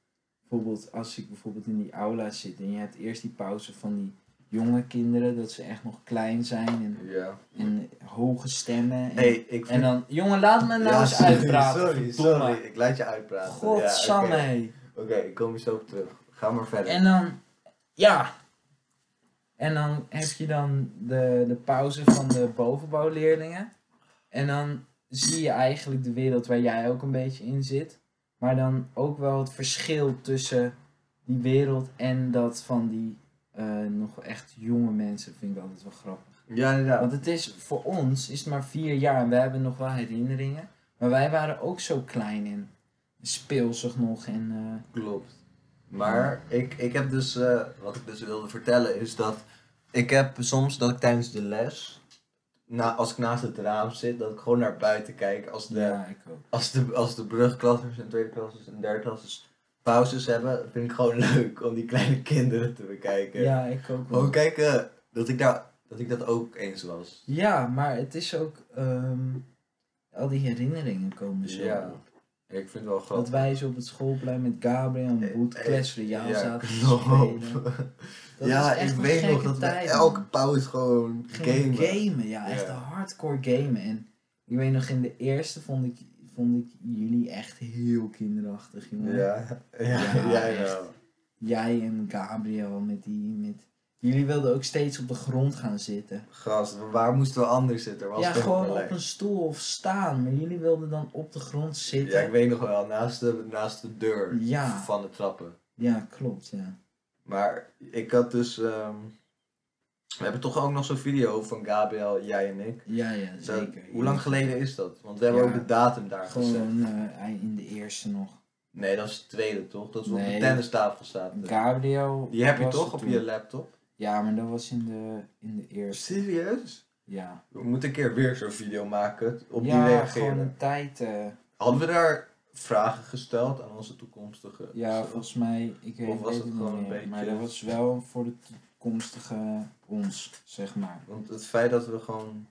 [SPEAKER 1] Bijvoorbeeld als ik bijvoorbeeld in die aula zit en je hebt eerst die pauze van die jonge kinderen. Dat ze echt nog klein zijn en,
[SPEAKER 2] Ja.
[SPEAKER 1] en hoge stemmen. En,
[SPEAKER 2] Hey, ik vind...
[SPEAKER 1] en dan, jongen laat me nou
[SPEAKER 2] Ja,
[SPEAKER 1] eens
[SPEAKER 2] sorry,
[SPEAKER 1] uitpraten.
[SPEAKER 2] Sorry,
[SPEAKER 1] verdomme.
[SPEAKER 2] sorry, ik laat je uitpraten.
[SPEAKER 1] Godsamme.
[SPEAKER 2] Ja, oké.
[SPEAKER 1] hé.
[SPEAKER 2] Oké, ik kom hier zo op terug. Ga maar verder.
[SPEAKER 1] En dan, ja. En dan heb je dan de, de pauze van de bovenbouwleerlingen. En dan zie je eigenlijk de wereld waar jij ook een beetje in zit. Maar dan ook wel het verschil tussen die wereld en dat van die eh, nog echt jonge mensen. Vind ik altijd wel grappig.
[SPEAKER 2] Ja, inderdaad.
[SPEAKER 1] Want het is voor ons is het maar vier jaar en we hebben nog wel herinneringen. Maar wij waren ook zo klein en speelsig nog. En, eh,
[SPEAKER 2] Klopt. Maar ik, ik heb dus, eh, wat ik dus wilde vertellen is dat ik heb soms dat ik tijdens de les, na, als ik naast het raam zit, dat ik gewoon naar buiten kijk als de,
[SPEAKER 1] ja, ik ook.
[SPEAKER 2] als de, als de brugklassers en tweede klassers en derde klassers pauzes hebben, vind ik gewoon leuk om die kleine kinderen te bekijken.
[SPEAKER 1] Ja, ik ook wel.
[SPEAKER 2] Gewoon kijken dat ik, daar, dat ik dat ook eens was.
[SPEAKER 1] Ja, maar het is ook... ehm, al die herinneringen komen zo.
[SPEAKER 2] Ja, ik vind het wel
[SPEAKER 1] Dat
[SPEAKER 2] grappig.
[SPEAKER 1] wij zo op het schoolplein met Gabriel en Boet,
[SPEAKER 2] Eh, eh,
[SPEAKER 1] Clash Royale zaten te
[SPEAKER 2] klopt.
[SPEAKER 1] spelen. Dat
[SPEAKER 2] ja,
[SPEAKER 1] was echt
[SPEAKER 2] ik
[SPEAKER 1] een
[SPEAKER 2] weet
[SPEAKER 1] gekke
[SPEAKER 2] nog dat we
[SPEAKER 1] tijd,
[SPEAKER 2] elke
[SPEAKER 1] man.
[SPEAKER 2] pauze gewoon
[SPEAKER 1] Gingen
[SPEAKER 2] gamen.
[SPEAKER 1] gamen. Ja, echt
[SPEAKER 2] Ja.
[SPEAKER 1] hardcore gamen. En ik weet nog, in de eerste vond ik, vond ik jullie echt heel kinderachtig, jongen.
[SPEAKER 2] Ja, ja,
[SPEAKER 1] Ja,
[SPEAKER 2] jij
[SPEAKER 1] echt.
[SPEAKER 2] wel.
[SPEAKER 1] Jij en Gabriel met die... Met... Jullie wilden ook steeds op de grond gaan zitten.
[SPEAKER 2] Gast, waar moesten we anders zitten? Er Was
[SPEAKER 1] ja,
[SPEAKER 2] toch
[SPEAKER 1] gewoon
[SPEAKER 2] wel
[SPEAKER 1] op
[SPEAKER 2] lijkt.
[SPEAKER 1] een stoel of staan. Maar jullie wilden dan op de grond
[SPEAKER 2] Ja,
[SPEAKER 1] zitten.
[SPEAKER 2] ik weet nog wel, naast de, naast de deur
[SPEAKER 1] Ja.
[SPEAKER 2] van de trappen.
[SPEAKER 1] Ja, klopt, ja.
[SPEAKER 2] Maar ik had dus... ehm, we hebben toch ook nog zo'n video van Gabriel, jij en ik.
[SPEAKER 1] Ja, ja,
[SPEAKER 2] Zo,
[SPEAKER 1] zeker.
[SPEAKER 2] Hoe lang geleden is dat? Want we hebben
[SPEAKER 1] Ja.
[SPEAKER 2] ook de datum daar gezet.
[SPEAKER 1] Gewoon eh, in de eerste nog.
[SPEAKER 2] Nee, dat is het tweede toch? Dat we op
[SPEAKER 1] Nee.
[SPEAKER 2] de tennistafel zaten.
[SPEAKER 1] Gabriel.
[SPEAKER 2] Die heb je
[SPEAKER 1] was
[SPEAKER 2] toch
[SPEAKER 1] er
[SPEAKER 2] op
[SPEAKER 1] toen.
[SPEAKER 2] je laptop?
[SPEAKER 1] Ja, maar dat was in de, in de eerste.
[SPEAKER 2] Serieus?
[SPEAKER 1] Ja.
[SPEAKER 2] We moeten een keer weer zo'n video maken op
[SPEAKER 1] ja,
[SPEAKER 2] die
[SPEAKER 1] gewoon
[SPEAKER 2] reageren.
[SPEAKER 1] een tijd. eh,
[SPEAKER 2] Hadden we daar vragen gesteld aan onze toekomstige...
[SPEAKER 1] ja,
[SPEAKER 2] Zo.
[SPEAKER 1] volgens mij. Ik weet,
[SPEAKER 2] Of was
[SPEAKER 1] weet
[SPEAKER 2] het
[SPEAKER 1] niet
[SPEAKER 2] gewoon een
[SPEAKER 1] meer,
[SPEAKER 2] beetje-
[SPEAKER 1] Maar dat was wel voor de toekomstige ons, zeg maar.
[SPEAKER 2] Want het feit dat we gewoon...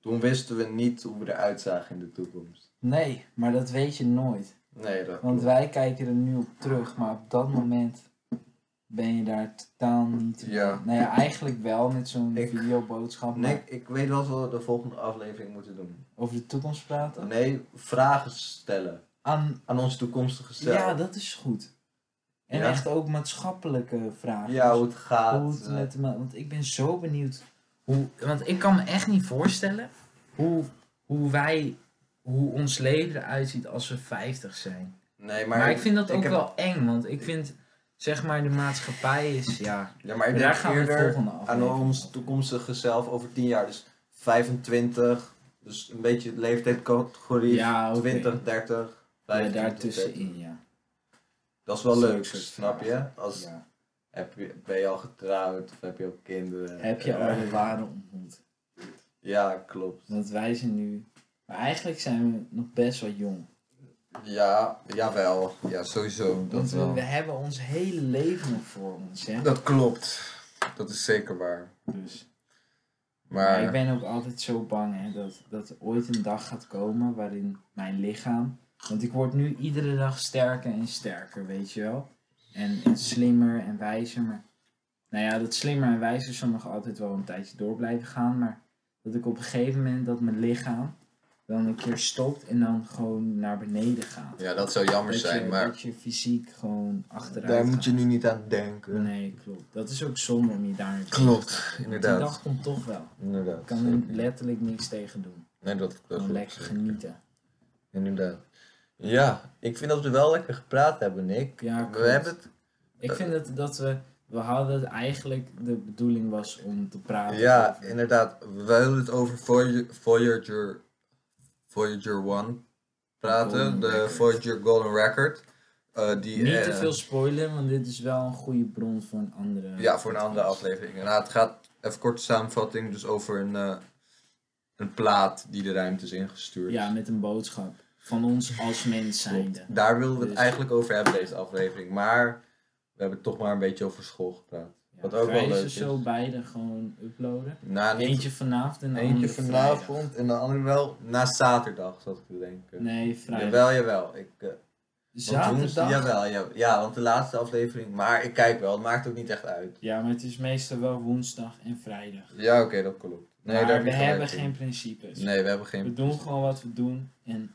[SPEAKER 2] Toen wisten we niet hoe we eruit zagen in de toekomst.
[SPEAKER 1] Nee, maar dat weet je nooit.
[SPEAKER 2] Nee, dat
[SPEAKER 1] Want
[SPEAKER 2] klopt.
[SPEAKER 1] wij kijken er nu op terug, maar op dat moment ben je daar totaal niet.
[SPEAKER 2] Ja.
[SPEAKER 1] Nou ja, eigenlijk wel met zo'n
[SPEAKER 2] Ik-
[SPEAKER 1] videoboodschap. maar-
[SPEAKER 2] Nick, ik weet wat we de volgende aflevering moeten doen.
[SPEAKER 1] Over de toekomst praten?
[SPEAKER 2] Nee, vragen stellen.
[SPEAKER 1] Aan,
[SPEAKER 2] Aan onze toekomstige zelf.
[SPEAKER 1] ja, dat is goed. En
[SPEAKER 2] Ja?
[SPEAKER 1] echt ook maatschappelijke vragen.
[SPEAKER 2] Ja,
[SPEAKER 1] Dus
[SPEAKER 2] hoe het gaat.
[SPEAKER 1] hoe het
[SPEAKER 2] eh,
[SPEAKER 1] met de ma- Want ik ben zo benieuwd hoe... Want ik kan me echt niet voorstellen hoe hoe wij, hoe ons leven eruit ziet als we 50 zijn.
[SPEAKER 2] Nee,
[SPEAKER 1] Maar,
[SPEAKER 2] maar,
[SPEAKER 1] ik vind dat
[SPEAKER 2] ik
[SPEAKER 1] ook
[SPEAKER 2] heb-
[SPEAKER 1] wel eng, want ik vind, zeg maar, de maatschappij is, ja.
[SPEAKER 2] Ja, maar ik
[SPEAKER 1] daar
[SPEAKER 2] denk
[SPEAKER 1] gaan we het
[SPEAKER 2] eerder
[SPEAKER 1] volgende
[SPEAKER 2] aan
[SPEAKER 1] aflevering
[SPEAKER 2] ons
[SPEAKER 1] over.
[SPEAKER 2] toekomstige zelf over 10 jaar. Dus 25, dus een beetje de leeftijdscategorie.
[SPEAKER 1] Ja, oké.
[SPEAKER 2] 20, 30,
[SPEAKER 1] Ja,
[SPEAKER 2] 25.
[SPEAKER 1] daartussenin, ja.
[SPEAKER 2] Dat is wel
[SPEAKER 1] Zulke
[SPEAKER 2] leuk,
[SPEAKER 1] soort
[SPEAKER 2] snap je?
[SPEAKER 1] vragen.
[SPEAKER 2] Als,
[SPEAKER 1] Ja.
[SPEAKER 2] heb je? Ben je al getrouwd of heb je al kinderen? Eh,
[SPEAKER 1] Heb je al de ware ontmoet?
[SPEAKER 2] Ja, klopt.
[SPEAKER 1] Want wij zijn nu, maar eigenlijk zijn we nog best wel jong.
[SPEAKER 2] Ja, jawel. Ja, sowieso. Dat
[SPEAKER 1] Want we,
[SPEAKER 2] wel.
[SPEAKER 1] we hebben ons hele leven nog voor ons, hè.
[SPEAKER 2] Dat klopt. Dat is zeker waar.
[SPEAKER 1] Dus. Maar ik
[SPEAKER 2] Maar
[SPEAKER 1] ben ook altijd zo bang hè, dat, dat er ooit een dag gaat komen waarin mijn lichaam. Want ik word nu iedere dag sterker en sterker, weet je wel. En, en slimmer en wijzer. Maar, nou ja, dat slimmer en wijzer zal nog altijd wel een tijdje door blijven gaan. Maar dat ik op een gegeven moment dat mijn lichaam dan een keer stopt en dan gewoon naar beneden gaat.
[SPEAKER 2] ja, dat zou jammer
[SPEAKER 1] Dat
[SPEAKER 2] zijn.
[SPEAKER 1] je,
[SPEAKER 2] Maar
[SPEAKER 1] dat je fysiek gewoon achteruit
[SPEAKER 2] daar moet je
[SPEAKER 1] gaat.
[SPEAKER 2] nu niet aan denken.
[SPEAKER 1] Nee, klopt. Dat is ook zonde om je daarmee bezig te
[SPEAKER 2] Klopt,
[SPEAKER 1] houden. Want Die dag
[SPEAKER 2] inderdaad.
[SPEAKER 1] komt toch wel.
[SPEAKER 2] Inderdaad.
[SPEAKER 1] Ik kan er letterlijk niks tegen doen.
[SPEAKER 2] Nee, dat, dat
[SPEAKER 1] Gewoon
[SPEAKER 2] klopt
[SPEAKER 1] lekker
[SPEAKER 2] zeker.
[SPEAKER 1] genieten.
[SPEAKER 2] Inderdaad. Ja, ik vind dat we wel lekker gepraat hebben, Nick.
[SPEAKER 1] Ja,
[SPEAKER 2] we
[SPEAKER 1] klopt.
[SPEAKER 2] hebben het.
[SPEAKER 1] Ik
[SPEAKER 2] Eh.
[SPEAKER 1] vind dat, dat we... We hadden het eigenlijk... De bedoeling was om te praten
[SPEAKER 2] Ja,
[SPEAKER 1] over-
[SPEAKER 2] inderdaad. We wilden het over Voyager, Voyager, Voyager 1 praten.
[SPEAKER 1] Golden
[SPEAKER 2] de
[SPEAKER 1] Record.
[SPEAKER 2] Voyager Golden Record. Eh, die,
[SPEAKER 1] Niet te
[SPEAKER 2] eh,
[SPEAKER 1] veel spoilen, want dit is wel een goede bron voor een andere...
[SPEAKER 2] Ja, voor een andere
[SPEAKER 1] podcast.
[SPEAKER 2] aflevering. Nou, het gaat, even korte samenvatting, dus over een, eh, een plaat die de ruimte is ingestuurd.
[SPEAKER 1] Ja, met een boodschap. Van ons als mens zijnde.
[SPEAKER 2] Daar wilden we het
[SPEAKER 1] Dus-
[SPEAKER 2] eigenlijk over hebben, deze aflevering. Maar we hebben toch maar een beetje over school gepraat.
[SPEAKER 1] Ja,
[SPEAKER 2] Wat ook wel
[SPEAKER 1] vrijdag
[SPEAKER 2] leuk
[SPEAKER 1] is zo beide gewoon uploaden.
[SPEAKER 2] Nou, niet-
[SPEAKER 1] Eentje vanavond en de
[SPEAKER 2] Eentje
[SPEAKER 1] andere
[SPEAKER 2] vanavond
[SPEAKER 1] vrijdag.
[SPEAKER 2] en de andere wel na zaterdag, zat ik te denken.
[SPEAKER 1] Nee, vrijdag.
[SPEAKER 2] Jawel, jawel. Ik, eh, want woensdag-
[SPEAKER 1] Zaterdag?
[SPEAKER 2] Jawel, ja, ja, want de laatste aflevering. Maar ik kijk wel, het maakt ook niet echt uit.
[SPEAKER 1] Ja, maar het is meestal wel woensdag en vrijdag.
[SPEAKER 2] Ja, oké, dat klopt. Nee, daar
[SPEAKER 1] maar
[SPEAKER 2] heb
[SPEAKER 1] we
[SPEAKER 2] je gelijk
[SPEAKER 1] hebben
[SPEAKER 2] in.
[SPEAKER 1] geen principes.
[SPEAKER 2] Nee, we hebben
[SPEAKER 1] We
[SPEAKER 2] geen...
[SPEAKER 1] doen gewoon wat we doen. En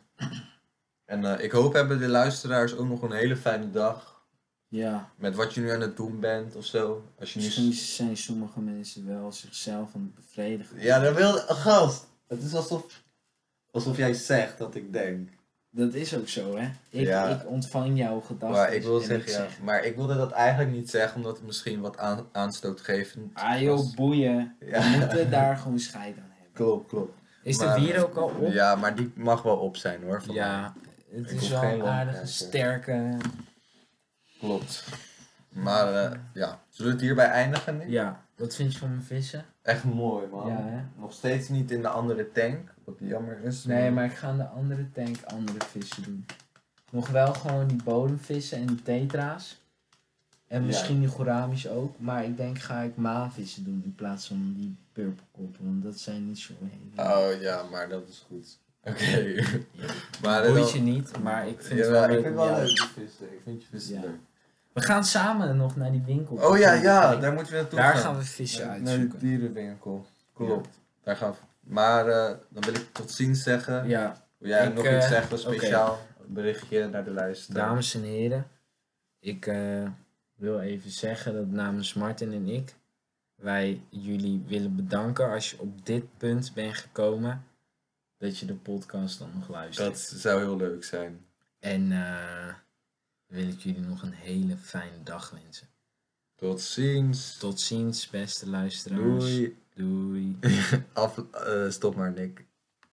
[SPEAKER 2] En eh, ik hoop hebben de luisteraars ook nog een hele fijne dag.
[SPEAKER 1] ja,
[SPEAKER 2] Met wat je nu aan het doen bent of zo. Als je
[SPEAKER 1] Misschien
[SPEAKER 2] nu...
[SPEAKER 1] zijn sommige mensen wel zichzelf aan het bevredigen.
[SPEAKER 2] Ja, dat wilde... Gast, het is alsof... Alsof jij zegt dat ik denk.
[SPEAKER 1] Dat is ook zo, hè? Ik,
[SPEAKER 2] Ja.
[SPEAKER 1] ik ontvang jouw gedachten.
[SPEAKER 2] Maar ik wil
[SPEAKER 1] en
[SPEAKER 2] zeggen, ja, Maar ik wilde dat eigenlijk niet zeggen, omdat het misschien wat aan, aanstootgevend
[SPEAKER 1] Ah joh, boeien. We
[SPEAKER 2] Ja,
[SPEAKER 1] moeten daar gewoon scheid aan hebben.
[SPEAKER 2] klopt, klopt.
[SPEAKER 1] Is
[SPEAKER 2] Maar,
[SPEAKER 1] de bier ook al op?
[SPEAKER 2] Ja, maar die mag wel op zijn hoor. van mij.
[SPEAKER 1] Het
[SPEAKER 2] Ik
[SPEAKER 1] is
[SPEAKER 2] hoef
[SPEAKER 1] wel
[SPEAKER 2] geen
[SPEAKER 1] een
[SPEAKER 2] lang
[SPEAKER 1] aardige,
[SPEAKER 2] kijken.
[SPEAKER 1] sterke...
[SPEAKER 2] klopt. Maar eh, ja, zullen we het hierbij eindigen? Nick?
[SPEAKER 1] Ja, wat vind je van mijn vissen?
[SPEAKER 2] Echt mooi man.
[SPEAKER 1] Ja, hè?
[SPEAKER 2] Nog steeds niet in de andere tank, wat jammer is.
[SPEAKER 1] Nee, maar ik ga in de andere tank andere vissen doen. Nog wel gewoon die bodemvissen en die tetra's. En
[SPEAKER 2] Ja.
[SPEAKER 1] misschien die gouramis ook. Maar ik denk ga ik maanvissen doen in plaats van die purplekoppen. Want dat zijn niet zo hele...
[SPEAKER 2] Oh ja, maar dat is goed. Oké. maar eh,
[SPEAKER 1] Boeit je niet, maar ik vind
[SPEAKER 2] Jawel,
[SPEAKER 1] het wel leuk.
[SPEAKER 2] ik vind
[SPEAKER 1] om
[SPEAKER 2] wel
[SPEAKER 1] jou-
[SPEAKER 2] leuk die vissen. Ik vind je vissen
[SPEAKER 1] Ja.
[SPEAKER 2] leuk.
[SPEAKER 1] We gaan samen nog naar die winkel.
[SPEAKER 2] Oh ja, ja,
[SPEAKER 1] Daar,
[SPEAKER 2] daar moeten we naartoe
[SPEAKER 1] gaan we vissen
[SPEAKER 2] Naar de
[SPEAKER 1] uitzoeken.
[SPEAKER 2] dierenwinkel. Klopt. Daar gaan we. Maar eh, dan wil ik tot ziens zeggen.
[SPEAKER 1] Ja,
[SPEAKER 2] Wil jij
[SPEAKER 1] Ik,
[SPEAKER 2] nog
[SPEAKER 1] eh,
[SPEAKER 2] iets zeggen,
[SPEAKER 1] oké.
[SPEAKER 2] speciaal berichtje naar de luisteraar?
[SPEAKER 1] dames en heren. Ik eh, wil even zeggen dat namens Martin en ik... wij jullie willen bedanken als je op dit punt bent gekomen... dat je de podcast dan nog luistert.
[SPEAKER 2] Dat zou heel leuk zijn.
[SPEAKER 1] En eh, wil ik jullie nog een hele fijne dag wensen.
[SPEAKER 2] Tot ziens.
[SPEAKER 1] Tot ziens, beste luisteraars.
[SPEAKER 2] Doei.
[SPEAKER 1] Doei.
[SPEAKER 2] Af, eh, stop maar, Nick.